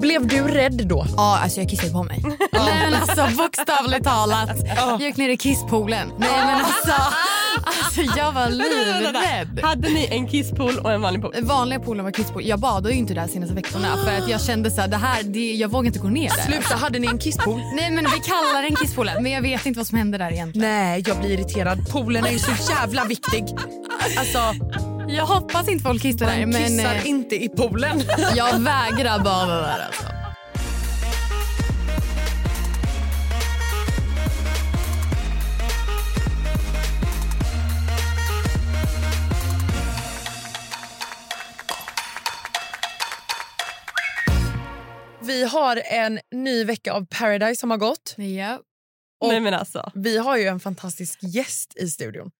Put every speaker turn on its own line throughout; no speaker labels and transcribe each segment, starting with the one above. Blev du rädd då?
Ja, alltså jag kissade på mig. Nej men alltså bokstavligt talat. Jag gick ner i kisspoolen. Nej men alltså. Alltså jag var livrädd.
Hade ni en kisspool och en vanlig pool?
Vanliga poolen var kisspool. Jag badade ju inte där senaste veckorna för att jag kände så här, det här, det, jag vågar inte gå ner där.
Sluta, hade ni en kisspool?
Nej men vi kallar den kisspoolen men jag vet inte vad som hände där egentligen.
Nej, jag blir irriterad. Poolen är ju så jävla viktig. Alltså,
Jag hoppas inte folk kissar där
man
men
kissar
eh,
inte i poolen.
jag vägrar bada där alltså.
Vi har en ny vecka av Paradise som har gått.
Ja,
Nej men alltså.
Vi har ju en fantastisk gäst i studion.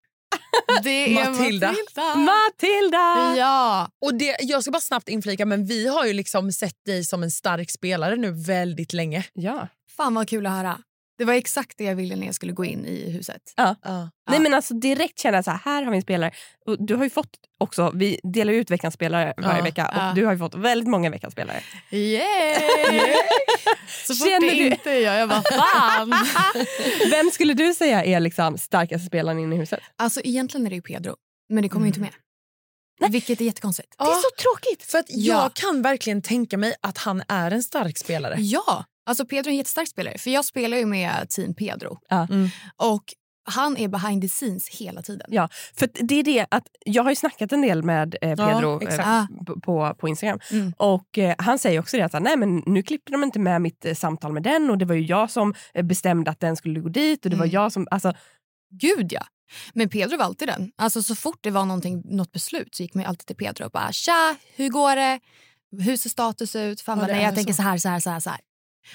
det är
Matilda.
Matilda.
Matilda!
Ja,
Och det, Jag ska bara snabbt inflika, men vi har ju liksom sett dig som en stark spelare nu väldigt länge.
Ja.
fan vad kul att höra. Det var exakt det jag ville när jag skulle gå in i huset.
Nej men alltså direkt känner jag så här, här har vi en spelare. Och du har ju fått också, vi delar ju ut veckans spelare varje
Ja,
vecka och
ja.
du har ju fått väldigt många veckans spelare.
Yay! Så fort
Känner
det
du-
inte är jag, jag bara fan.
Vem skulle du säga är liksom starkaste spelaren inne i huset?
alltså egentligen är det ju Pedro, men det kommer ju inte med. Vilket Mm. är jättekonstigt.
Det är så
tråkigt!
För att jag
Ja.
kan verkligen tänka mig att han är en stark spelare.
Ja, alltså Pedro är en jättestark spelare. För jag spelar ju med team Pedro.
Ja.
Mm.
Och han är behind the scenes hela tiden.
Ja, för att det är det att jag har ju snackat en del med eh, Pedro
Ja, exakt.
eh,
Ah,
p- på, på Instagram.
Mm.
Och eh, Han säger också det att så här, nej, men nu klippte de inte med mitt eh, samtal med den och det var ju jag som eh, bestämde att den skulle gå dit. och det
Mm.
var jag som... Alltså,
gud ja. Men Pedro var alltid den. Alltså så fort det var någonting, något beslut så gick man ju alltid till Pedro och bara tja, hur går det? Hur ser status ut? Fan,
Ja,
vad-
det
nej, jag
är
tänker
så.
så här, så här, så här. Så här.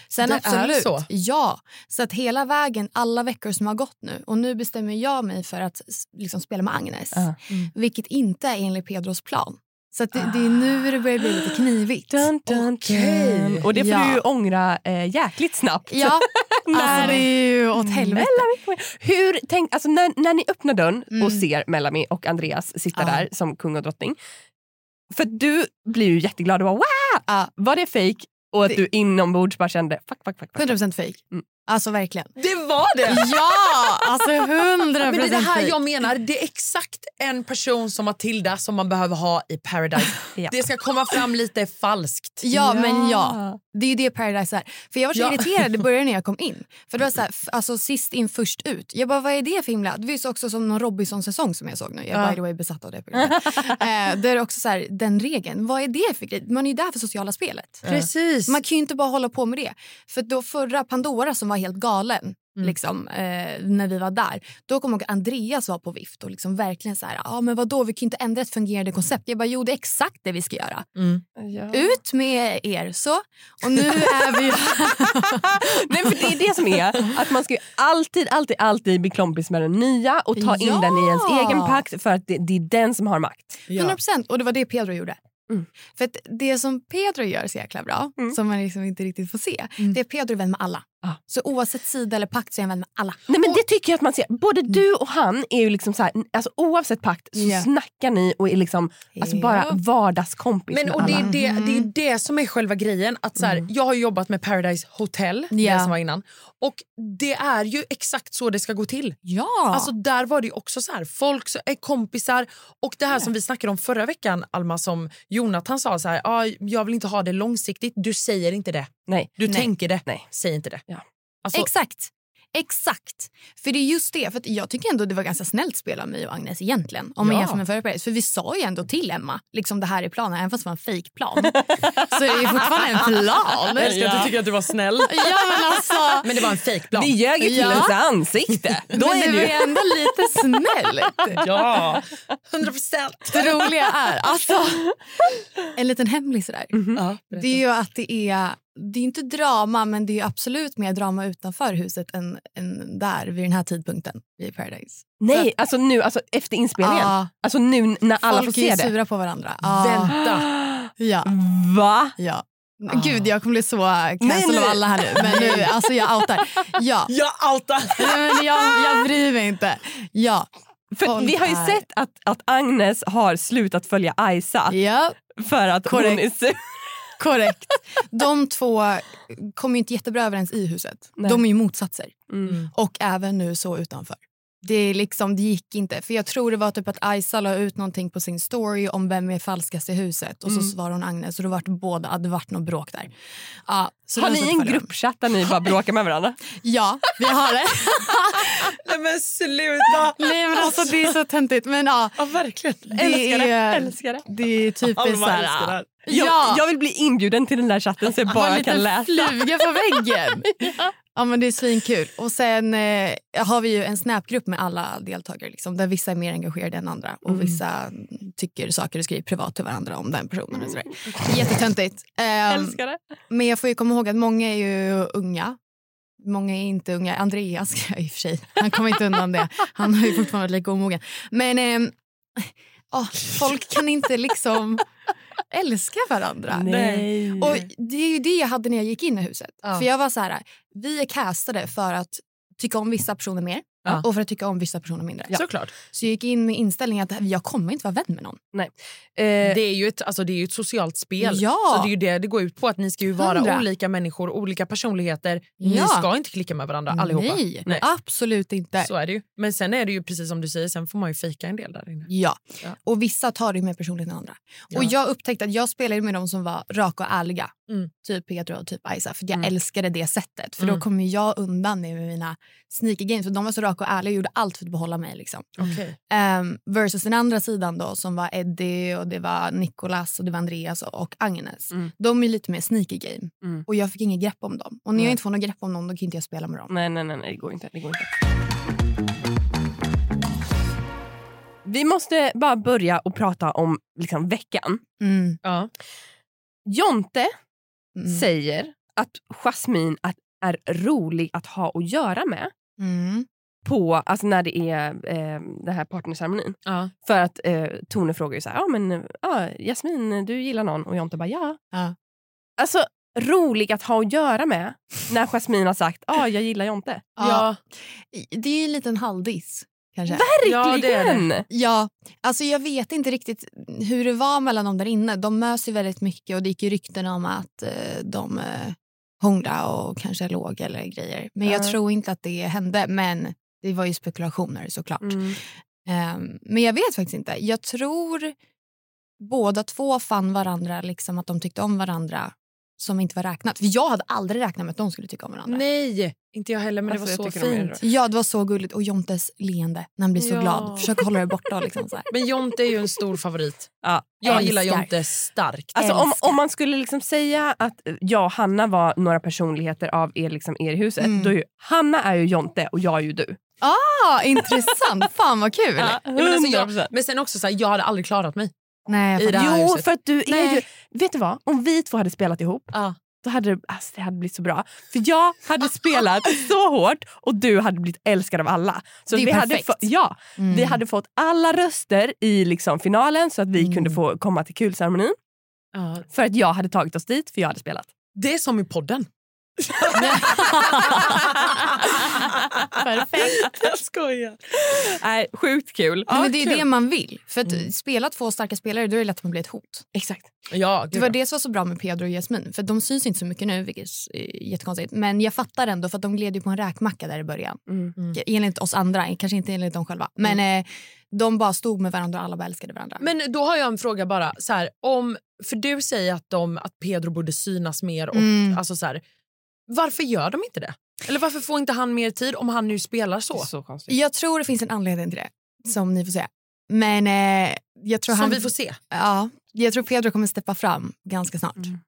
Sen
Det är
absolut,
så.
ja. Så att hela vägen, alla veckor som har gått nu och nu bestämmer jag mig för att s- liksom spela med Agnes.
Ja.
Mm. Ah.
Vilket inte är enligt Pedros plan. Så att det, det är nu det börjar bli lite knivigt.
dun, dun,
Okej.
dun. Och det får
Ja.
du ju ångra eh, jäkligt snabbt.
Ja, alltså
när,
det är ju
Mm.
åt
Mm.
helvete.
hur, tänk, alltså, när, när ni öppnar dörren
Mm.
och ser Melami och Andreas sitta
Ja.
där som kung och drottning. För att du blir ju jätteglad och bara wow!
Ja.
Var det fake? Och att
Det-
du inombords bara kände fuck, fuck, fuck. fuck.
100% fake.
Mm.
Alltså verkligen.
Det var det!
Ja, alltså 100%
Men det är det här
fake.
jag menar. Det är exakt en person som Matilda som man behöver ha i Paradise.
Ja.
Det ska komma fram lite falskt.
Ja, men ja. Det är ju det Paradise är. För jag var så
Ja.
irriterad i början när jag kom in. För det var så här, f- alltså sist in först ut. Jag bara, vad är det för himla? Det var ju så också som någon Robinson-säsong som jag såg nu. Jag är
Ja.
by the way besatt av det programmet. eh, där är också så här, den regeln. Vad är det för grej? Man är ju där för sociala spelet.
Precis.
Man kan ju inte bara hålla på med det. För då förra Pandora som var helt galen liksom, eh, när vi var där. Då kom jag ihåg att Andreas var på vift och liksom verkligen så här, ah, men vadå vi kan ju inte ändra ett fungerande koncept. Jag bara, jo det är exakt det vi ska göra.
Ah, Ja.
Ut med er så. Och nu är vi
Nej, för det är det som är att man ska ju alltid, alltid, alltid bli kompis med den nya och ta in
Ja.
den i ens egen pakt för att det, det är den som har makt.
Ja.
100% och det var det Pedro gjorde.
Mm.
För att det som Pedro gör så jäkla bra,
Mm.
som man liksom inte riktigt får se,
Mm.
det är Pedro är vän med alla.
Ah.
Så oavsett sida eller pakt så är han vän med alla.
Nej, men det tycker jag att man ser. Både du och han är ju liksom så här, alltså, oavsett pakt så
Mm. Ja.
snackar ni och är liksom alltså, bara vardagskompis
Men
med
och det, är
alla.
det, det är
Mm.
det som är själva grejen. Att så här, Jag har jobbat med Paradise Hotel,
Ja.
det som var innan. Och det är ju exakt så det ska gå till.
Ja!
Alltså där var det ju också så här, folk så- är kompisar och det här som vi snackade om förra veckan Alma som Jonathan sa så här, ah, jag vill inte ha det långsiktigt. Du säger inte det.
Nej.
Du
Nej.
tänker det.
Nej.
Säg inte det.
Ja.
Alltså,
Exakt. Exakt. För det är just det. För att jag tycker ändå det var ganska snällt spel av mig och Agnes egentligen. Om man
Ja.
jämför med förra Paradise. För vi sa ju ändå till Emma, liksom det här är planen. Även fast det var en fejkplan. så är det ju fortfarande en plan.
jag älskar att du tycker att du var snäll.
Ja men alltså.
Men det var en fejkplan.
Ni ljög ju till
Ja.
ens ansikte. Då
men
är
det var
du...
ju ändå lite snällt.
Ja, 100 procent.
Det
Mhm, Mm.
roliga är, alltså. En liten hemlis där. Det är ju att det är det är inte drama, men det är absolut mer drama utanför huset än, än där vid den här tidpunkten i Paradise.
Nej, alltså nu, alltså efter inspelningen.
Ja,
Alltså nu när alla
folk
får
är
se
ju
det.
sura på varandra. Ja.
Vänta.
Ja.
Va?
Ja. Gud, jag kommer bli så
Ah. Nej,
cancel
nej.
av alla här nu. Men nu, alltså jag outar. Ja.
Jag outar!
Nej, men jag, jag bryr mig inte. Ja.
För
Folk
vi har ju
är-
sett att, att Agnes har slutat följa Aisa
ja,
för att hon är
korrekt.
sur.
korrekt. De två kommer ju inte jättebra överens i huset.
Nej.
De är ju motsatser.
Mm.
Och även nu så utanför. Det, är liksom, det gick inte. För Jag tror det var typ att Isa la ut någonting på sin story om vem är falskast i huset. Och så
Mm.
svarade hon Agnes och då var det båda, hade varit något bråk där. Ja, så
Har
det var så
ni en
för dem.
gruppchatt där ni bara bråkar med varandra?
Ja, vi har det.
Nej men sluta!
Nej men alltså det är så töntigt. Men ja,
Ja verkligen.
det
Älskar det,
är,
älskar det.
det är typiskt så
Alma älskar det
här.
här.
ah, Jag,
Ja,
jag vill bli inbjuden till den där chatten så jag
ha en
bara
liten
kan läsa.
fluga på väggen. Ja men det är svinkul. Och sen eh, har vi ju en snapgrupp med alla deltagare liksom, där vissa är mer engagerade än andra och vissa tycker saker och skriver privat till varandra om den personen och sådär. Jättetöntigt. Ehm,
Älskar det.
men jag får ju komma ihåg att många är ju unga. Många är inte unga. Andreas i och för sig, han kommer inte undan det. Han har ju fortfarande varit lika omogen. Men ehm, ah, folk kan inte liksom älska
Ah,
varandra.
Nej.
Och det är ju det jag hade när jag gick in i huset.
Ja.
För jag var så här, vi är castade för att tycka om vissa personer mer
Ja.
och för att tycka om vissa personer mindre.
Såklart.
Så jag gick in med inställningen att jag kommer inte vara vän med någon.
eh,
Det är ju ett, alltså det är ju ett socialt spel.
Ja.
Så det, är ju det, det går ut på att ni ska ju vara
Hundra.
olika människor, olika personligheter. Ni
Ja.
ska inte klicka med varandra allihopa.
Nej,
Nej.
absolut inte.
Så är det ju. Men sen är det ju precis som du säger, sen får man ju fika en del där inne.
Ja.
Ja.
och vissa tar det mer personligt än andra.
Ja.
Och jag upptäckte att jag spelade med de som var raka och ärliga.
Mm.
Typ Pedro och typ Isa. För jag
Mm.
älskade det sättet. För
Mm.
då kom ju jag undan med mina sneaker games. För de var så raka och ärliga och gjorde allt för att behålla mig. Liksom.
Okej.
Ehm, versus den andra sidan då som var Eddie och det var Nicolas och det var Andreas och Agnes.
Mm.
De är lite mer sneaky game
Mm.
och jag fick inget grepp om dem. Och när
Nej.
jag inte får något grepp om dem då kan inte jag spela med dem.
Nej, nej, nej, nej, det går inte. Det går inte. Vi måste bara börja och prata om liksom, veckan.
Mm,
Ja.
Jonte
mm,
säger att Jasmine att, är rolig att ha att göra med
mm,
på, alltså när det är eh, den här partnerceremonin.
Ja.
För att eh, Tone frågar ju så här, ja men ja, Jasmin du gillar någon och Jonte bara ja.
Ja.
Alltså rolig att ha att göra med när Jasmin har sagt ja jag gillar Jonte.
ja. Det är ju en liten halvdiss kanske.
Ja, det är det.
Verkligen!
Ja, alltså jag vet inte riktigt hur det var mellan dem där inne. De möts ju väldigt mycket och det gick ju rykten om att eh, de eh, hånglade och kanske låg eller grejer. Men jag
Ja.
tror inte att det hände. Men det var ju spekulationer såklart.
Mm.
Ehm, men jag vet faktiskt inte. Jag tror båda två fann varandra, liksom att de tyckte om varandra som inte var räknat. För jag hade aldrig räknat med att de skulle tycka om varandra.
Nej, inte jag heller men
Alltså,
det var
jag
så
tycker de är
fint.
Ja, det var så gulligt. Och Jontes leende när han blir så
Ja.
glad. Försök hålla det borta. Liksom, så här.
Men Jonte är ju en stor favorit.
Ja,
Jag
älskar.
gillar Jonte starkt.
Alltså om,
Älskar.
om man skulle liksom säga att jag och Hanna var några personligheter av er, liksom, er i huset,
Mm.
då är ju Hanna är ju Jonte och jag är ju du.
Ah, intressant. Fan vad kul.
Ja, men, alltså, jag,
100%.
men sen också, så här, jag hade aldrig klarat mig.
Nej, jag
I det
fattar.
här
Jo,
huset.
för att du är
Nej.
ju... Vet du vad? Om vi två hade spelat ihop,
Ja.
då hade det, alltså, det hade blivit så bra. För jag hade spelat så hårt och du hade blivit älskad av alla. Så
Det är
vi hade
perfekt.
få- ja,
Mm.
vi hade fått alla röster i liksom, finalen så att vi
Mm.
kunde få komma till kulceremonin.
Ja.
För att jag hade tagit oss dit, för jag hade spelat.
Det är som i podden.
Perfekt.
Jag skojar.
Nej, sjukt kul.
Nej, men det är
kul.
det man vill. För att
Mm.
spela två starka spelare, då är det lätt att man blir ett hot.
Exakt.
Ja,
Det var det som var så bra med Pedro och Jasmin. För de syns inte så mycket nu, vilket är eh, jättekonstigt. Men jag fattar ändå, för att de gled ju på en räkmacka där i början.
Mm.
Enligt oss andra, kanske inte enligt dem själva. Men eh, de bara stod med varandra och alla bara älskade varandra.
Mm. Men då har jag en fråga bara. Så här, om, för du säger att, de, att Pedro borde synas mer. Och,
Mm.
alltså så här, varför gör de inte det? Eller varför får inte han mer tid om han nu spelar så?
Så konstigt.
Jag tror det finns en anledning till det, som ni får se. Men eh, jag tror
Som
han...
vi får se.
Ja, jag tror Pedro kommer steppa fram ganska snart.
Mm.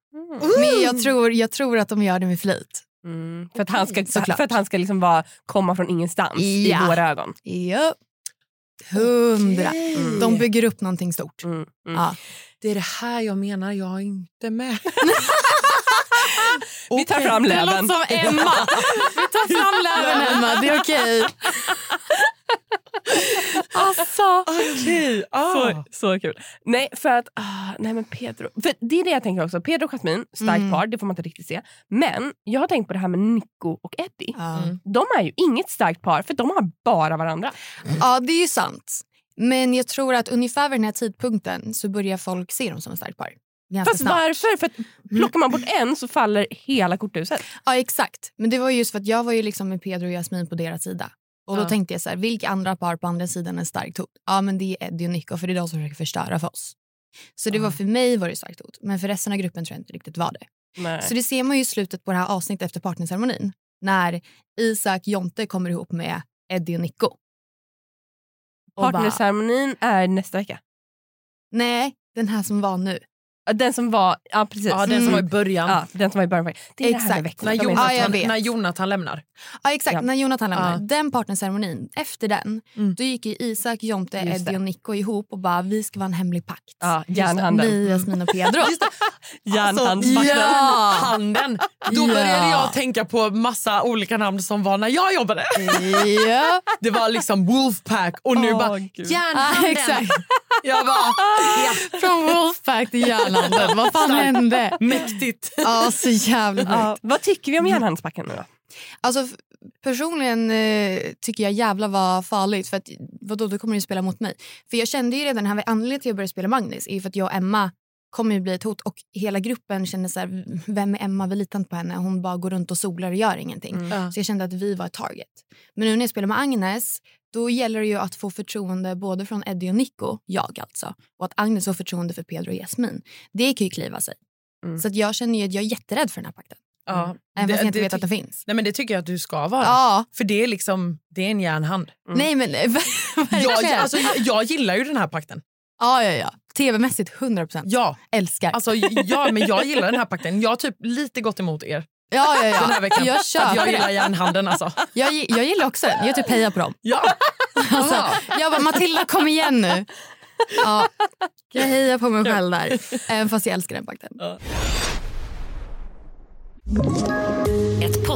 Men jag tror, jag tror att de gör det med flit.
Mm. För att han ska,
Såklart.
för att han ska liksom vara, komma från ingenstans i
Ja.
våra ögon.
Ja. Hundra.
Okej.
De bygger upp någonting stort.
Mm. Mm.
Ja.
Det är det här jag menar, jag är inte med.
Vi tar fram
Det låter
löven.
som Emma. Vi tar fram löven, Emma. Det är okej. Alltså.
Okej. Mm.
Så, så kul. Nej, för att... Ah, nej, men Pedro... För det är det jag tänker också. Pedro och Jasmine, starkt
Mm.
par. Det får man inte riktigt se. Men jag har tänkt på det här med Nico och Eddie.
Ja.
De är ju inget starkt par, för de har bara varandra.
ja, det är ju sant. Men jag tror att ungefär vid den här tidpunkten så börjar folk se dem som ett starkt par. Ganska
Fast
snabbt.
varför? För att
Mm.
plockar man bort en så faller hela korthuset.
Ja, exakt. Men det var just för att jag var ju liksom med Pedro och Jasmin på deras sida. Och då
Ja.
tänkte jag så här, vilka andra par på andra sidan är starkt hot? Ja, men det är Eddie och Nico, för det är de som försöker förstöra för oss. Så det var för mig var det starkt hot, men för resten av gruppen tror jag inte riktigt var det.
Nej.
Så det ser man ju i slutet på det här avsnittet efter partnerceremonin. När Isak Jonte kommer ihop med Eddie och Nico. Och bara,
Partnerceremonin är nästa vecka.
nej, den här som var nu.
Ja, Den som var... Ja, precis. Mm.
Ja, den som var i början.
Ja, den som var i början. Det är den här
Exakt.
veckan.
När,
De är-
Ja, jag
Jonathan,
vet.
när Jonathan lämnar.
Ja, exakt.
Ja.
När Jonathan lämnar.
Ja.
Den partnerceremonin, efter den,
Mm.
då gick ju Isak, Jonte,
Just
Eddie
det.
och Nico ihop och bara vi ska vara en hemlig pakt.
Ja, järnhandeln.
Vi, Jasmin och Pedro.
Järnhandsvakten.
Handen. Alltså, Då
Ja.
började jag tänka på massa olika namn som var när jag jobbade.
ja.
Det var liksom Wolfpack och nu
Åh,
bara
gud.
Ah,
järnhanden.
exakt.
Jag bara,
Från Wolfpack till järnhandeln. Vad fan hände?
mäktigt.
Ja, så jävla sjukt.
Ja, vad tycker
Mm.
vi om järnhandsbacken nu då?
Alltså f- personligen eh, tycker jag jävla var farligt för att vadå, då kommer du spela mot mig. För jag kände ju redan här, anledningen till att jag började spela Magnus är ju för att jag och Emma kommer ju bli ett hot och hela gruppen kände så här, vem är Emma? Vi litar inte på henne. Hon bara går runt och solar och gör ingenting.
Ja.
Så jag kände att vi var ett target. Men nu när jag spelar med Agnes då gäller det ju att få förtroende både från Eddie och Nico, jag alltså, och att Agnes får förtroende för Pedro och Jasmin. Det kan ju kliva sig.
Mm.
Så att jag känner ju att jag är jätterädd för den här pakten.
Ja.
Även fast jag inte
det
vet att
ty-
den finns.
Nej, men det tycker jag att du ska vara.
Ja,
För det är liksom, det är en järnhand.
Nej men verkligen.
Jag,
Ja,
Mm. alltså, jag, jag gillar ju den här pakten.
ja, ja, ja. Tv-mässigt 100%.
Ja,
Älskar.
alltså, ja, men jag gillar den här pakten. Jag har typ lite gått emot er
ja, ja, ja.
den här veckan.
Jag
Att
köper
jag
det.
gillar järnhanden alltså.
Jag, gi- jag gillar också den. Jag typ hejar på dem.
Ja.
Alltså, jag bara Matilda kom igen nu. Ja, jag hejar på mig själv där. Även fast jag älskar den pakten.
Ett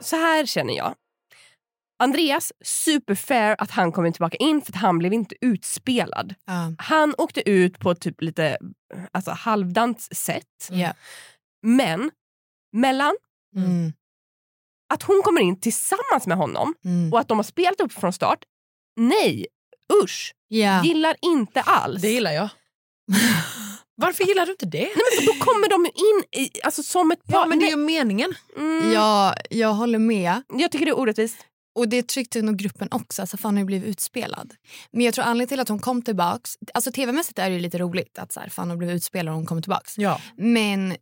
Så här känner jag. Andreas, superfair att han kommer tillbaka in för att han blev inte utspelad.
Ja.
Han åkte ut på typ lite alltså, halvdant
Mm.
sätt.
Ja.
Men mellan
Mm.
att hon kommer in tillsammans med honom
Mm.
och att de har spelat upp från start. Nej, usch.
Ja.
Gillar inte alls.
Det gillar jag. Varför gillar du inte det?
Då kommer de ju in i, alltså, som ett par.
Ja, men det är
Nej,
ju meningen.
mm,
Ja, jag håller med.
Jag tycker det är orättvist.
Och det tryckte nog gruppen också. Alltså Fanny blev utspelad. Men jag tror anledningen till att hon kom tillbaks... Alltså tv-mässigt är det ju lite roligt att så här, Fanny blev utspelad och hon kom tillbaks.
Ja.
Men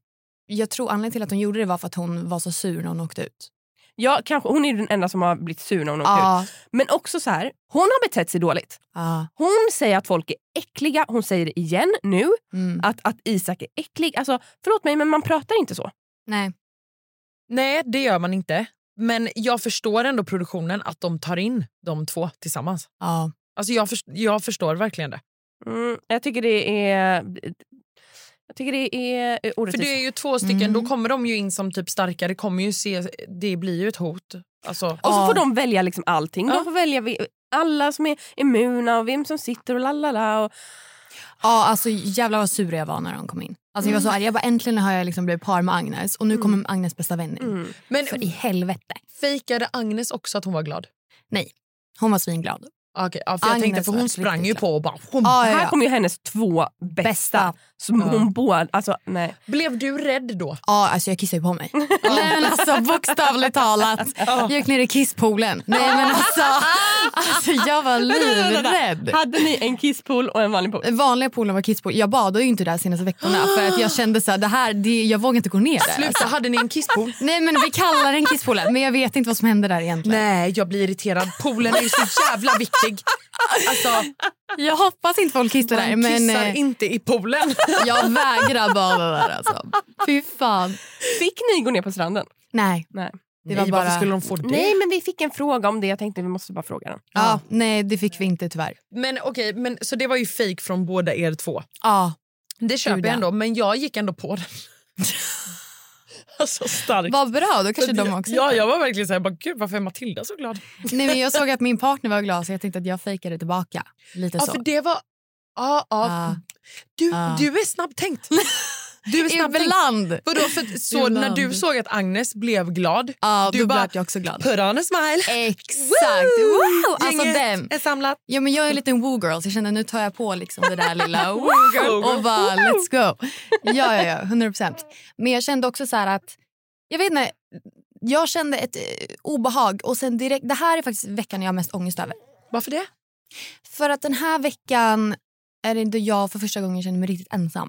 jag tror anledningen till att hon gjorde det var för att hon var så sur när hon åkte ut.
Ja, kanske, hon är ju den enda som har blivit sur när hon åkte ut.
Ja.
Men också så här, hon har betett sig dåligt.
ja.
Hon säger att folk är äckliga. Hon säger det igen nu.
Mm.
Att, att Isak är äcklig. Alltså, förlåt mig, men man pratar inte så.
Nej.
Nej, det gör man inte. Men jag förstår ändå produktionen att de tar in de två tillsammans.
Ja.
Alltså jag, först- jag förstår verkligen det.
Mm, jag tycker det är... Jag tycker det är eh,
För
orättvist.
det är ju två stycken,
Mm.
då kommer de ju in som typ starkare. Kommer ju se, det blir ju ett hot. Alltså,
Och så
Ja.
får de välja liksom allting.
Ja.
De får välja vi- alla som är immuna och vem som sitter och lalala. Och...
ja, alltså jävlar vad sur jag var när hon kom in. Alltså jag var så arg. Jag bara äntligen har jag liksom blivit par med Agnes och nu kommer Agnes bästa vän in.
Mm.
men
För i helvete.
fejkade Agnes också att hon var glad?
Hon var svinglad.
Ah, Okej, ja, för jag
Agnes
tänkte, för
var
hon sprang
riktigt
ju
glad.
på och bara... Hon,
Ja, ja,
Här
ja.
kommer ju hennes två bästa.
Bästa.
Som
Ja.
hon båda... Alltså, nej.
Blev du rädd då?
Ja, alltså jag kissade ju på mig. Nej men alltså bokstavligt talat. Jag gick ner i kisspoolen. Nej men alltså. Alltså jag var livrädd.
Hade ni en kisspool och en vanlig pool?
Vanliga poolen var kidspool. Jag badade ju inte där senaste veckorna för att jag kände så här, det här, det, jag vågar inte gå ner där. alltså.
Sluta, hade ni en kisspool?
Nej men vi kallar den kisspoolen men jag vet inte vad som hände där egentligen.
Nej, jag blir irriterad. Poolen är ju så jävla viktig. Alltså,
Jag hoppas inte folk kissar där
man
men
kissar
eh,
inte i poolen.
jag vägrar bada där alltså. Fy fan.
Fick ni gå ner på stranden?
Nej.
Nej.
Det var
Nej,
bara...
Varför skulle de få det?
Nej, men vi fick en fråga om det. Jag tänkte vi måste bara fråga den.
Ja, nej det fick vi inte tyvärr.
Men okej, men, så det var ju fake från båda er två.
Ja.
Det köper jag ändå, men jag gick ändå på den. alltså starkt.
Vad bra, då kanske de också
Ja, jag var verkligen så här, bara, gud varför är Matilda så glad?
Nej, men jag såg att min partner var glad så jag tänkte att jag fejkade tillbaka. Lite
Ja,
så.
för det var... Ja, ja.
Ah.
Du,
Ah.
du är snabbtänkt. Du är snabbtänkt.
Ibland.
Vadå, för så
Ibland.
när du såg att Agnes blev glad,
Ja,
Du
då
bara-
blev jag också glad.
put on a smile.
Exakt! Wow! Alltså
Gänget
den.
är samlat.
Ja, men jag är en liten woo girl så jag kände nu tar jag på liksom det där lilla woo girl och bara let's go. Ja, ja, ja, 100 procent. Men jag kände också så här att, jag vet inte, jag kände ett eh, obehag och sen direkt, det här är faktiskt veckan jag har mest ångest över.
Varför det?
För att den här veckan är det då jag för första gången känner mig riktigt ensam.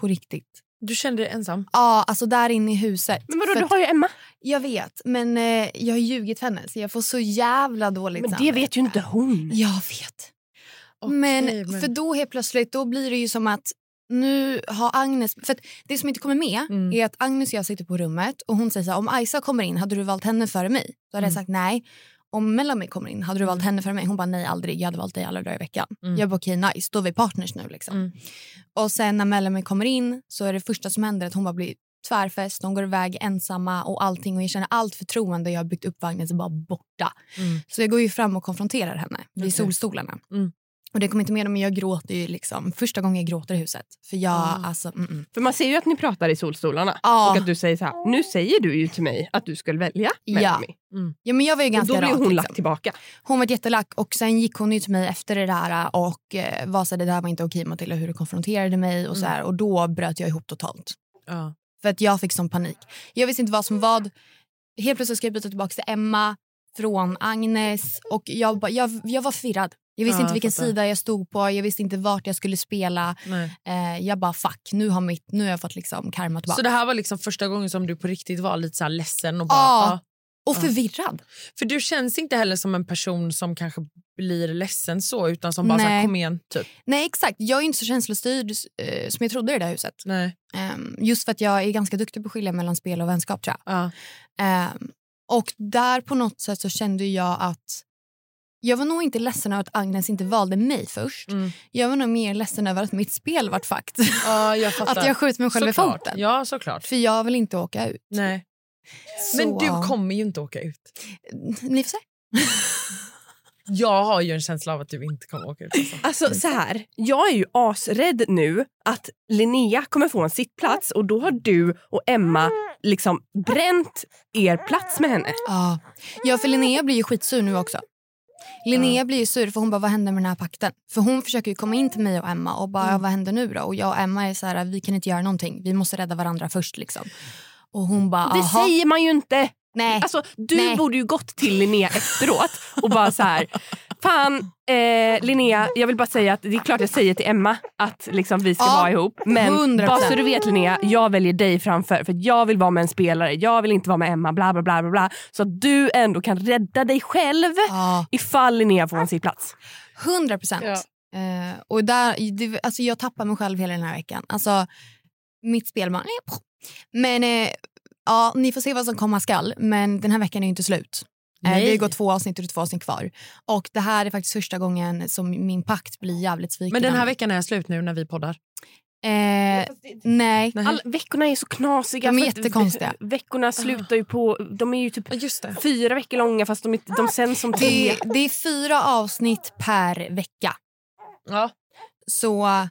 På riktigt.
Du kände dig ensam.
Ja, alltså där inne i huset.
Men vadå,
För
du
att-
har ju Emma.
Jag vet, men eh, jag har ljugit för henne så jag får så jävla dåligt
Men det
samvete.
vet ju inte hon.
Jag vet.
Okej,
men,
men-
för då helt plötsligt då blir det ju som att nu har Agnes... För att det som inte kommer med
Mm.
är att Agnes och jag sitter på rummet och hon säger så här, om Isa kommer in hade du valt henne före mig? Då
Mm.
hade jag sagt nej. Om Melanie kommer in hade du valt henne före mig? Hon bara nej aldrig, jag hade valt dig alla dagar i veckan.
Mm.
Jag bara okej nice, då är vi partners nu liksom.
Mm.
Och sen när Melanie kommer in så är det första som händer att hon bara blir tvärfest, de går iväg ensamma och allting och jag känner allt förtroende jag har byggt upp för Agnes är bara borta.
Mm.
Så jag går ju fram och konfronterar henne vid
Okej.
solstolarna.
Mm.
Och det kommer inte med dem, men jag gråter ju liksom första gången jag gråter i huset. För jag,
Ah.
alltså, mm, mm.
För man ser ju att ni pratar i solstolarna.
Ja.
Och att du säger så här, nu säger du ju till mig att du skulle välja
Ja.
Melanie.
Ja, men jag var ju
Och
ganska
då blir
rak,
hon
liksom.
lagt tillbaka.
Hon var jättelack och sen gick hon ju till mig efter det där och eh, var så här, det där var inte okej Matilda hur du konfronterade mig och så här och då bröt jag ihop totalt.
Mm. Ja.
För att jag fick sån panik. Jag visste inte vad som vad. Helt plötsligt ska jag byta tillbaka till Emma från Agnes och jag, bara- jag, jag var förvirrad. Jag visste
Ja,
inte
jag
vilken
fattar.
sida jag stod på, jag visste inte vart jag skulle spela.
Nej.
Eh, jag bara fuck, nu har, mitt, nu har jag fått liksom karma tillbaka.
Så det här var liksom första gången som du på riktigt var lite så här ledsen och bara...
Ja.
ah.
och förvirrad.
För du känns inte heller som en person som kanske blir ledsen så utan som bara så här,
Nej.
kom igen typ.
Nej exakt, jag är inte så känslostyrd eh, som jag trodde i det där huset.
Nej.
Ehm, just för att jag är ganska duktig på att skilja mellan spel och vänskap tror jag.
Ja.
Ehm, och där på något sätt så kände jag att jag var nog inte ledsen över att Agnes inte valde mig först.
Mm.
Jag var nog mer ledsen över att mitt spel vart fakt.
Ja, jag fattar.
att jag sköt mig själv i
Såklart.
foten.
Ja, såklart.
För jag vill inte åka ut.
Nej.
Så,
Men du kommer ju inte åka ut.
Ni får se.
Jag har ju en känsla av att du inte kommer åka ut. Alltså.
Alltså så här, jag är ju asrädd nu att Linnea kommer få en sittplats och då har du och Emma liksom bränt er plats med henne.
Ja. ja, för Linnea blir ju skitsur nu också. Linnea blir ju sur för hon bara vad händer med den här pakten? För hon försöker ju komma in till mig och Emma och
Mm.
bara vad händer nu då? Och jag och Emma är så här vi kan inte göra någonting. Vi måste rädda varandra först liksom. Och hon bara
Det
aha.
säger man ju inte.
Nej.
Alltså, du
Nej.
borde ju gått till Linnea efteråt och bara så här... Fan, eh, Linnea, jag vill bara säga att det är klart jag säger till Emma att liksom, vi ska
Ja,
vara ihop. Men
100%.
bara så du vet Linnea, jag väljer dig framför. För att jag vill vara med en spelare, jag vill inte vara med Emma. Bla, bla, bla, bla, bla. Så att du ändå kan rädda dig själv
Ja.
ifall Linnea får en sittplats.
Hundra procent.
Ja.
Eh, och där, det, alltså jag tappar mig själv hela den här veckan. Alltså, mitt spel bara... Men eh, ja, ni får se vad som komma skall. Men den här veckan är ju inte slut. Eh,
Nej.
det går två avsnitt och det är två avsnitt kvar. Och det här är faktiskt första gången som min pakt blir jävligt sviken.
Men den här
av mig.
veckan är slut nu när vi poddar.
Eh, nej.
Nej.
All, veckorna är så knasiga.
De är
för att
jättekonstiga. Ah.
ve- Veckorna slutar ju på... De är ju typ
Ja, just det.
fyra veckor långa fast de, är- de sänds som tre.
Det, det är fyra avsnitt per vecka.
Ja.
Så eh,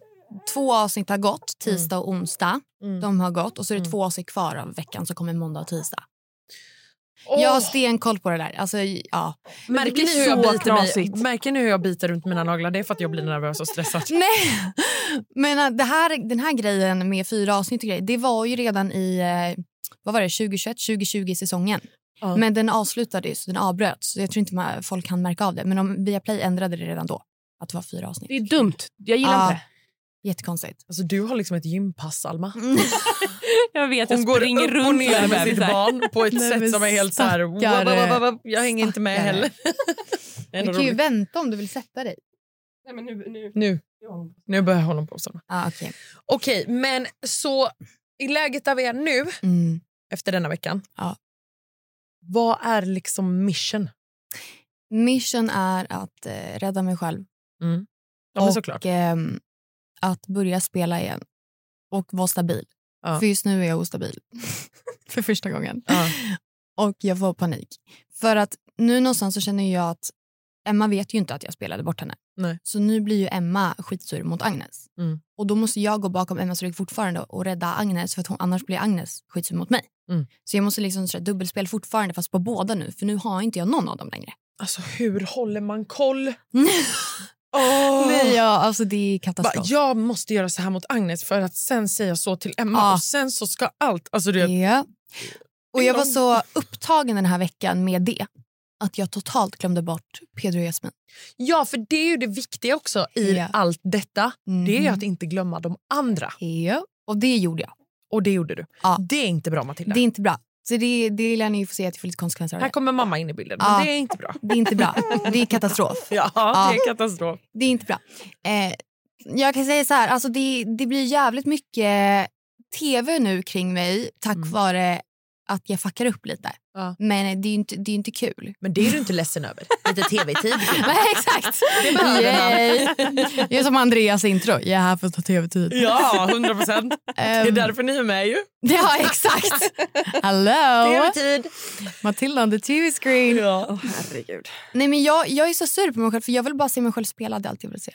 två avsnitt har gått, tisdag och onsdag.
Mm.
De har gått och så är det
Mm.
två avsnitt kvar av veckan som kommer måndag och tisdag.
Åh,
Jag har stenkoll på det där. Alltså, ja.
det
märker,
blir
ni hur jag
så
biter mig,
knasigt.
märker ni hur jag biter runt mina naglar? Det är för att jag blir nervös och stressad.
Nej, men äh, det här, den här grejen med fyra avsnitt och grejer, det var ju redan i eh, vad var det, 2021, 2020 säsongen.
Ja.
Men den avslutades, så den avbröts. Så jag tror inte man, folk kan märka av det. Men om Viaplay ändrade det redan då. Att det var fyra avsnitt.
Det är dumt. Jag gillar
Ah.
Ja.
inte.
Jättekonstigt.
Alltså, du har liksom ett gympass, Alma.
Jag vet,
Hon går upp och ner med sitt
barn.
barn på ett
Nej,
sätt
men
som är helt så här...
stackare.
"Wa, wa, wa, wa, Jag hänger inte med
Stackare.
heller.
Du
Ändå
kan ju
roligt.
vänta om du vill sätta dig.
Nej, men nu, nu.
nu, nu börjar jag hålla på såna.
Ah, okay.
Okej, men så i läget där vi är nu,
mm.
efter denna veckan...
Ja.
Vad är liksom mission?
Mission är att eh, rädda mig själv
Ja, men
Och,
såklart.
ehm, att börja spela igen och vara stabil.
Ja.
För just nu är jag ostabil för första gången.
Ja.
Och jag får panik. För att nu någonstans så känner jag att Emma vet ju inte att jag spelade bort henne.
Nej.
Så nu blir ju Emma skitsur mot Agnes.
Mm.
Och då måste jag gå bakom Emmas rygg fortfarande och rädda Agnes för att hon, annars blir Agnes skitsur mot mig.
Mm.
Så jag måste liksom sådär dubbelspel fortfarande fast på båda nu för nu har inte jag någon av dem längre.
Alltså, hur håller man koll? Åh!
Nej, ja, alltså det är
Bara,
katastrof.
jag måste göra så här mot Agnes för att sen säga så till Emma
Ja.
och sen så ska allt... Alltså, det,
Ja. Och jag var så upptagen den här veckan med det att jag totalt glömde bort Pedro och Jasmin.
Ja, för det är ju det viktiga också i
Ja.
allt detta. Det är ju
Mhm.
att inte glömma de andra.
Ja. Och det gjorde jag.
Och det gjorde du.
Ja.
Det är inte bra Matilda.
Det är inte bra. Så det, det lär ni få se att jag får lite konsekvenser av
Här
det.
kommer mamma in i bilden. Men
Ja.
det är inte bra.
Det är inte bra. Det är katastrof.
Ja, det är katastrof.
Det är inte bra. Eh, jag kan säga så här, alltså det, det blir jävligt mycket tv nu kring mig tack
Mm.
vare att jag fuckar upp lite.
Ja.
Men det är ju inte, det är inte kul.
Men det är du inte ledsen över. Lite tv-tid.
Nej, exakt.
Det behöver man.
Yay. Jag är som Andreas intro. Jag är här för att ta tv-tid.
Ja, 100 procent. Det är
Ehm,
därför ni är med ju.
Ja, exakt. Hallå!
Tv-tid.
Matilda on the TV screen.
Ja.
Herregud.
Nej, men jag, jag är så sur på mig själv för jag vill bara se mig själv spela. Det är allt jag vill se.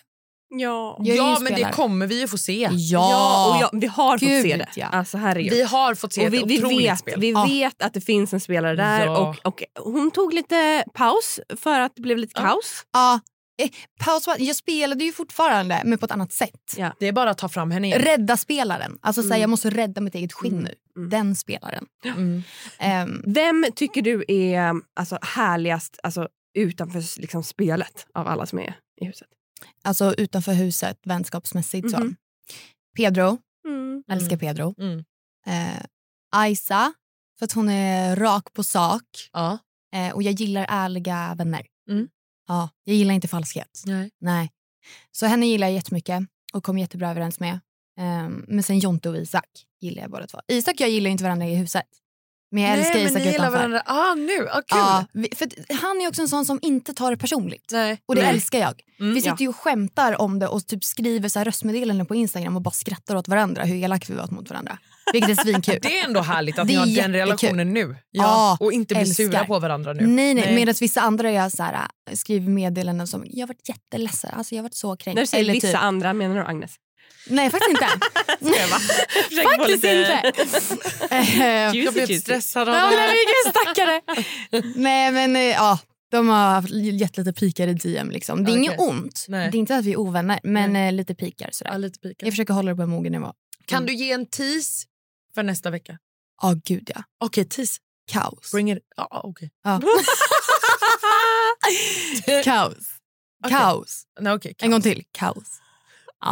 Ja.
Jag är ju
ja, men det
spelare.
kommer vi ju få se.
Ja.
och jag, vi har
Gud,
fått se det.
ja.
Alltså, herregud.
Vi har fått se
och vi,
ett
vi,
otroligt
vet,
spel. Ah.
vi
Ja.
vet att det finns en spelare där.
Ja.
Och, och hon tog lite paus för att det blev lite
Ja.
kaos.
Ja. Eh, paus, jag spelade ju fortfarande, men på ett annat sätt.
Ja.
Det är bara att ta fram henne igen.
Rädda spelaren. Alltså, så här,
Mm.
Jag måste rädda mitt eget skinn
Mm.
nu.
Mm.
Den spelaren.
Mm.
Ehm,
Vem tycker du är alltså, härligast alltså, utanför liksom, spelet av alla som är i huset?
alltså utanför huset, vänskapsmässigt. Så.
Mhm.
Pedro.
Mm.
Älskar Pedro.
Mm.
Eh, Aisa, för att hon är rak på sak.
Ja.
Eh, och jag gillar ärliga vänner.
Mm.
Ja, jag gillar inte falskhet.
Nej.
Nej. Så henne gillar jag jättemycket och kom jättebra överens med. Ehm, men sen Jonte och Isak gillar jag båda två. Isak och jag gillar inte varandra i huset. Men jag älskar
Nej, men
Isak
ni gillar
utanför.
varandra. Ah, nu. Ah, kul.
Ja, vi- för att han är också en sån som inte tar det personligt.
Nej.
Och det
Nej.
älskar jag.
Mm,
vi sitter ju och skämtar om det och typ skriver så här röstmeddelanden på Instagram och bara skrattar åt varandra hur elaka vi varit mot varandra. Vilket är svinkul.
Det är ändå härligt att
Det
ni
är
har den
jättekul.
relationen nu.
Ja,
och inte blir
älskar.
sura på varandra nu.
Nej, nej.
Nej.
Medan vissa andra jag så här, äh, skriver meddelanden som jag har varit jätteledsen, alltså jag har varit så kränkt.
När du säger
Eller
vissa
typ-
andra, menar du Agnes?
Nej, faktiskt inte. faktiskt inte. Eh,
Jag blev stressad av
Ja,
det.
men vilken stackare! Nej, men eh, ja. De har haft gett lite pikar i DM. Liksom. Det är
Okej.
inget ont.
Nej.
Det är inte att vi är ovänner, men eh, lite pikar. Sådär.
Ja, lite pika.
Jag försöker hålla det på en mogen nivå.
Kan du ge en tease Mm. för nästa vecka?
Ja, gud ja.
Okej, tease.
Kaos.
Bring it. Ja, ah, okej.
Ja. Kaos.
Okej.
Kaos.
Nej, okej.
En gång till. Kaos.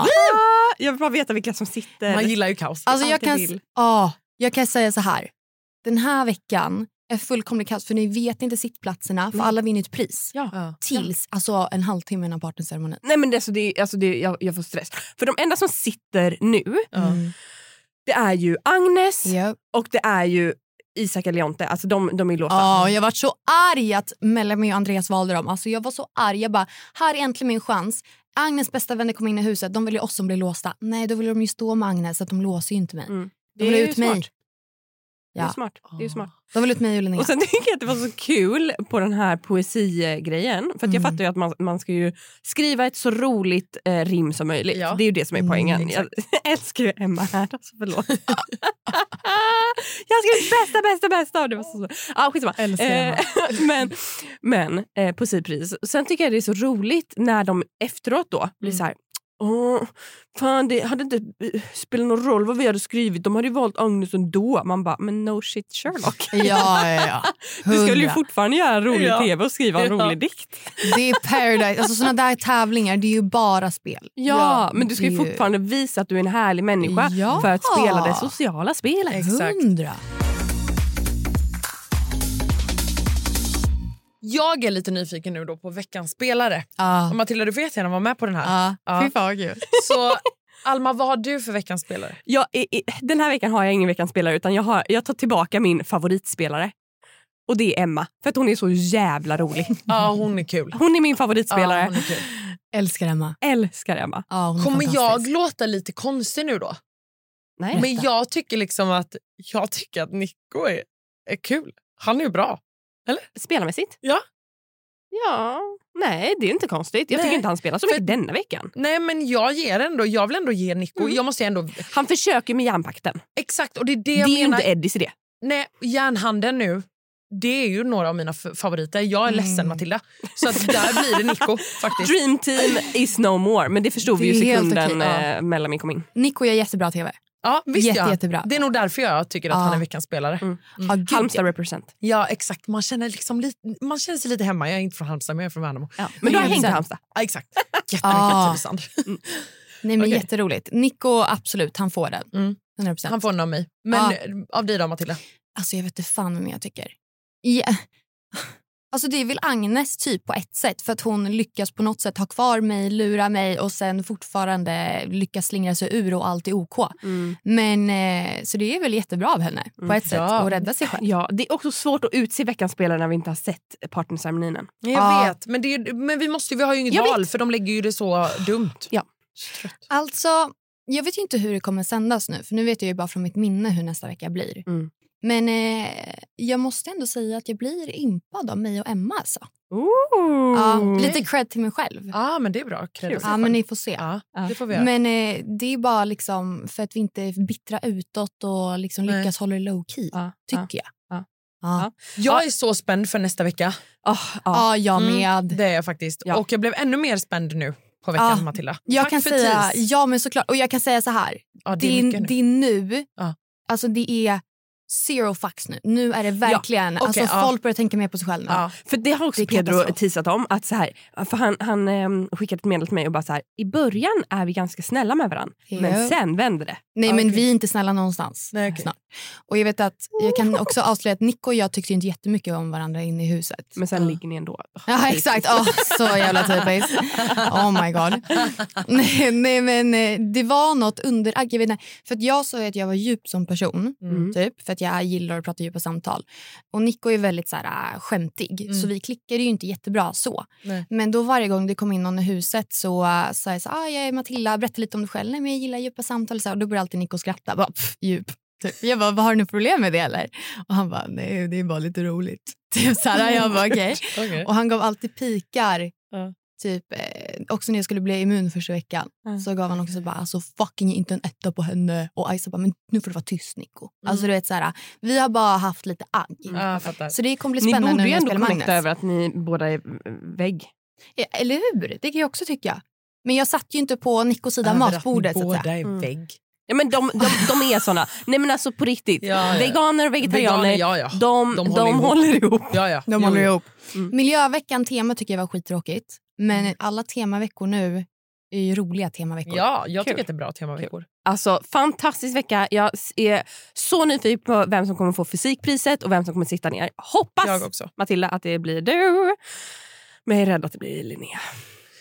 Jag vill bara veta vilka som sitter.
Man gillar ju kaos.
Alltså, jag,
Alltid
kan,
vill.
ja, jag kan säga så här. Den här veckan är fullkomligt kaos, för ni vet inte sittplatserna. För alla vinner ett pris.
Ja.
Tills alltså, en halvtimme innan partnerceremonin.
Nej, men det, alltså, det, alltså, det, jag, jag får stress. För de enda som sitter nu,
Ja.
Mm.
det är ju Agnes
Ja.
och det är ju Isak eller Jonte. Alltså, de, de är låsta.
Ja, och jag var så arg att Melanie och Andreas valde dem. Alltså jag var så arg. Jag bara, här är äntligen min chans. Agnes bästa vänner kom in i huset. De vill ju oss som blir låsta. Nej, då vill de ju stå med Agnes så att de låser ju inte mig.
Mm.
De vill
är ju
ut mig.
smart. Det är
Ja. Ah.
smart. Det är ju smart.
De vill ut mig och Linnea.
Och sen tycker jag att det var så kul på den här poesigrejen. För att jag
Mm.
fattar ju att man, man ska ju skriva ett så roligt eh, rim som möjligt.
Ja.
Det är ju det som är
Mm,
poängen. jag älskar ju Emma här. Alltså, förlåt. jag skrev bästa, bästa, bästa. Och det var så, så. Ah, skitsamma.
Älskar Emma.
Eh, men
Mm.
men eh, poesipris. Sen tycker jag det är så roligt när de efteråt då blir så här Åh, fan, det hade inte eh, spelat någon roll vad vi hade skrivit. De hade ju valt Agnes ändå. Man bara, men no shit Sherlock.
Ja, ja, ja.
Du skulle ju
Hundra.
fortfarande göra rolig
Ja.
tv och skriva en
Ja.
rolig dikt.
Det är paradise. Alltså såna där tävlingar, det är ju bara spel.
Ja, men du ska ju
det är
fortfarande visa att du är en härlig människa
Ja.
för att spela det sociala spelet.
Hundra.
Jag är lite nyfiken nu då på veckans spelare.
Ja.
Och Matilda, du får jättegärna vara med på den här.
Ja.
Ja.
Fy fan vad kul.
Så Alma, vad har du för veckans spelare?
Jag, i, i, den här veckan har jag ingen veckans spelare utan jag, har, jag tar tillbaka min favoritspelare. Och det är Emma, för att hon är så jävla rolig.
Ja, hon är kul.
Hon är min
Ja,
favoritspelare.
hon är kul.
Älskar Emma.
Älskar Emma.
Ja, hon är
Kommer jag
fantastisk.
låta lite konstig nu då?
Nej.
Men jag tycker liksom att jag tycker att Nico är, är kul. Han är ju bra.
Spelarmässigt?
Ja.
Ja, nej det är inte konstigt. Jag
Nej.
tycker inte han spelar så
För-
mycket denna veckan.
Nej, men jag ger ändå. Jag vill ändå ge Nico. Jag måste ändå...
Han försöker med järnpakten.
Exakt, och det är det
Det
jag
är ju
menar.
inte Eddies idé.
Nej, järnhanden nu. Det är ju några av mina f- favoriter. Jag är ledsen, Matilda. Så att där blir det Nico. faktiskt.
Dream team is no more. Men det förstod vi ju
Det är helt
sekunden
okej, ja.
eh, Melanie kom in.
Nico gör jättebra tv.
Ja, visst
Jätte,
ja.
jättebra.
Det är nog därför jag tycker att
Ja.
han är veckans spelare.
Mm. Ah, gud,
Halmstad represent.
Ja, exakt. Man känner, liksom lite, man känner sig lite hemma. Jag är inte från Halmstad, men jag är från Värnamo.
Ja.
Men du har hängt i
Sen-
Halmstad.
Ja, exakt. Jättemycket
Ah.
Tylösand.
Nej, men
Okej.
Jätteroligt. Nico, absolut, han får den.
Mm.
100%.
Han får en av mig. Men eh, av dig då, Matilda?
Alltså jag vet inte fan vem jag tycker. Ja. Alltså det är väl Agnes typ på ett sätt för att hon lyckas på något sätt ha kvar mig, lura mig och sen fortfarande lyckas slingra sig ur och allt är OK.
Mm.
Men eh, så det är väl jättebra av henne på ett sätt
Ja.
att rädda sig själv.
Ja, det är också svårt att utse veckans spelare när vi inte har sett partnerceremonin.
Ja, Jag
Ja.
vet, men, det är, men vi, måste, ju- vi har ju inget
Jag
val för de lägger ju det så dumt.
Alltså, jag vet ju inte hur det kommer sändas nu för nu vet jag ju bara från mitt minne hur nästa vecka blir.
Mm.
Men eh, jag måste ändå säga att jag blir impad av mig och Emma alltså.
Ooh.
Ja, lite cred till mig själv.
Ja, Ah, men det är bra. Kredda sig
Kul.
Ja,
själv.
men ni får se.
ja, det får vi göra.
Men eh, det är bara liksom för att vi inte är bittra utåt och liksom
Nej.
lyckas hålla det low key,
Ja,
tycker jag.
ja.
Ja.
Jag är så spänd för nästa vecka.
Ah, ah.
Ja, jag
Mm,
med.
Det är jag faktiskt.
Ja.
Och jag blev ännu mer spänd nu på veckan,
Ja.
Matilda.
Jag
Tack
kan
för
säga,
tis.
ja men såklart. Och jag kan säga så här,
Ja,
det,
det är
är,
mycket nu.
det är nu,
Ja.
alltså det är zero fucks nu. Nu är det verkligen,
okej,
alltså
ja.
folk börjar tänka mer på sig själva.
Ja.
För det har också
Det är
Pedro
katastrof.
teasat om. Att så här, för han han ehm, skickade ett meddelande till mig och bara så här, i början är vi ganska snälla med varandra.
Jo.
Men sen vände det.
Nej
Ja,
men
okej.
vi är inte snälla någonstans.
Nej, okej.
Snart. Och jag vet att, jag kan också avslöja att Nico och jag tyckte ju inte jättemycket om varandra inne i huset.
Men sen
Ja.
ligger ni ändå.
Ja, exakt. Åh, så jävla typiskt. Oh my god. Nej, nej men eh, det var något underagg. Jag, vet inte, för att jag sa ju att jag var djup som person,
Mm.
typ, för att jag gillar att prata djupa samtal. Och Nico är väldigt så här, äh, skämtig,
Mm.
så vi klickade ju inte jättebra så.
Nej.
Men då varje gång det kom in någon i huset så äh, sa jag så här, ah, jag är Matilda, berätta lite om dig själv. Nej, men jag gillar djupa samtal. Så här, och då började alltid Nico skratta. Bara, "Pff, djup. Typ. Jag bara, vad har du något problem med det eller? Och han bara, nej det är bara lite roligt. Typ så här, jag bara okej.
Okej.
Och han gav alltid pikar.
Ja.
Typ, eh, också när jag skulle bli immun första veckan så gav han också bara alltså fucking inte en etta på henne. Och Isa bara men nu får du vara tyst Nico.
Mm.
Alltså du vet såhär, vi har bara haft lite agg.
Ja, jag fattar.
Så det kommer bli
Ni
spännande
borde
nu när
ju
jag
ändå
spelar Magnus.
connecta över att ni båda är eh, vägg.
Ja, eller hur? Det kan jag också tycka. Men jag satt ju inte på Nicos sida av
Över att ni
matbordet. Så
Båda
att säga. Mm.
är vägg.
Ja, men de, de, de är såna. Nej men alltså på riktigt.
Ja, ja.
Veganer och vegetarianer,
Veganer, ja, ja.
De,
De
de,
håller
håller,
ihop.
ihop.
Ja, ja.
De håller ihop.
Mm.
Miljöveckan tema tycker jag var skittråkigt. Men alla temaveckor nu är ju roliga temaveckor.
Ja, jag tycker
Kul.
att det är bra temaveckor.
Alltså, fantastisk vecka. Jag s- är så nyfiken på vem som kommer få fysikpriset och vem som kommer sitta ner. Hoppas,
Jag också.
Matilda, att det blir du. Men jag är rädd att det blir Linnea.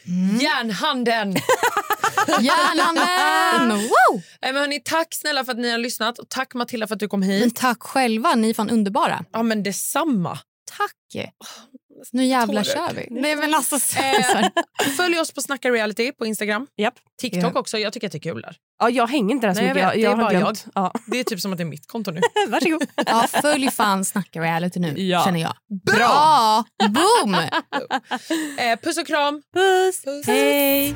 Mm.
Järnhanden!
Järnhanden! Wow!
Nej, men hörni, tack snälla för att ni har lyssnat och tack Matilda för att du kom hit.
Men tack själva, ni är fan underbara.
Ja, men detsamma.
Tack! Nu jävlar
tårar.
kör vi. Nej men alltså,
Eh, följ oss på Snacka Reality på Instagram.
Japp.
TikTok också. Jag tycker att det är kul där.
Ja, jag hänger inte där så
Nej, jag
mycket.
vet. Det är bara
Jag. Ja.
Det är typ som att det är mitt konto nu.
Varsågod.
ja, följ fan Snacka Reality nu,
Ja.
känner jag. Bra! Boom!
Eh, puss och kram!
Puss.
Puss.
Hej.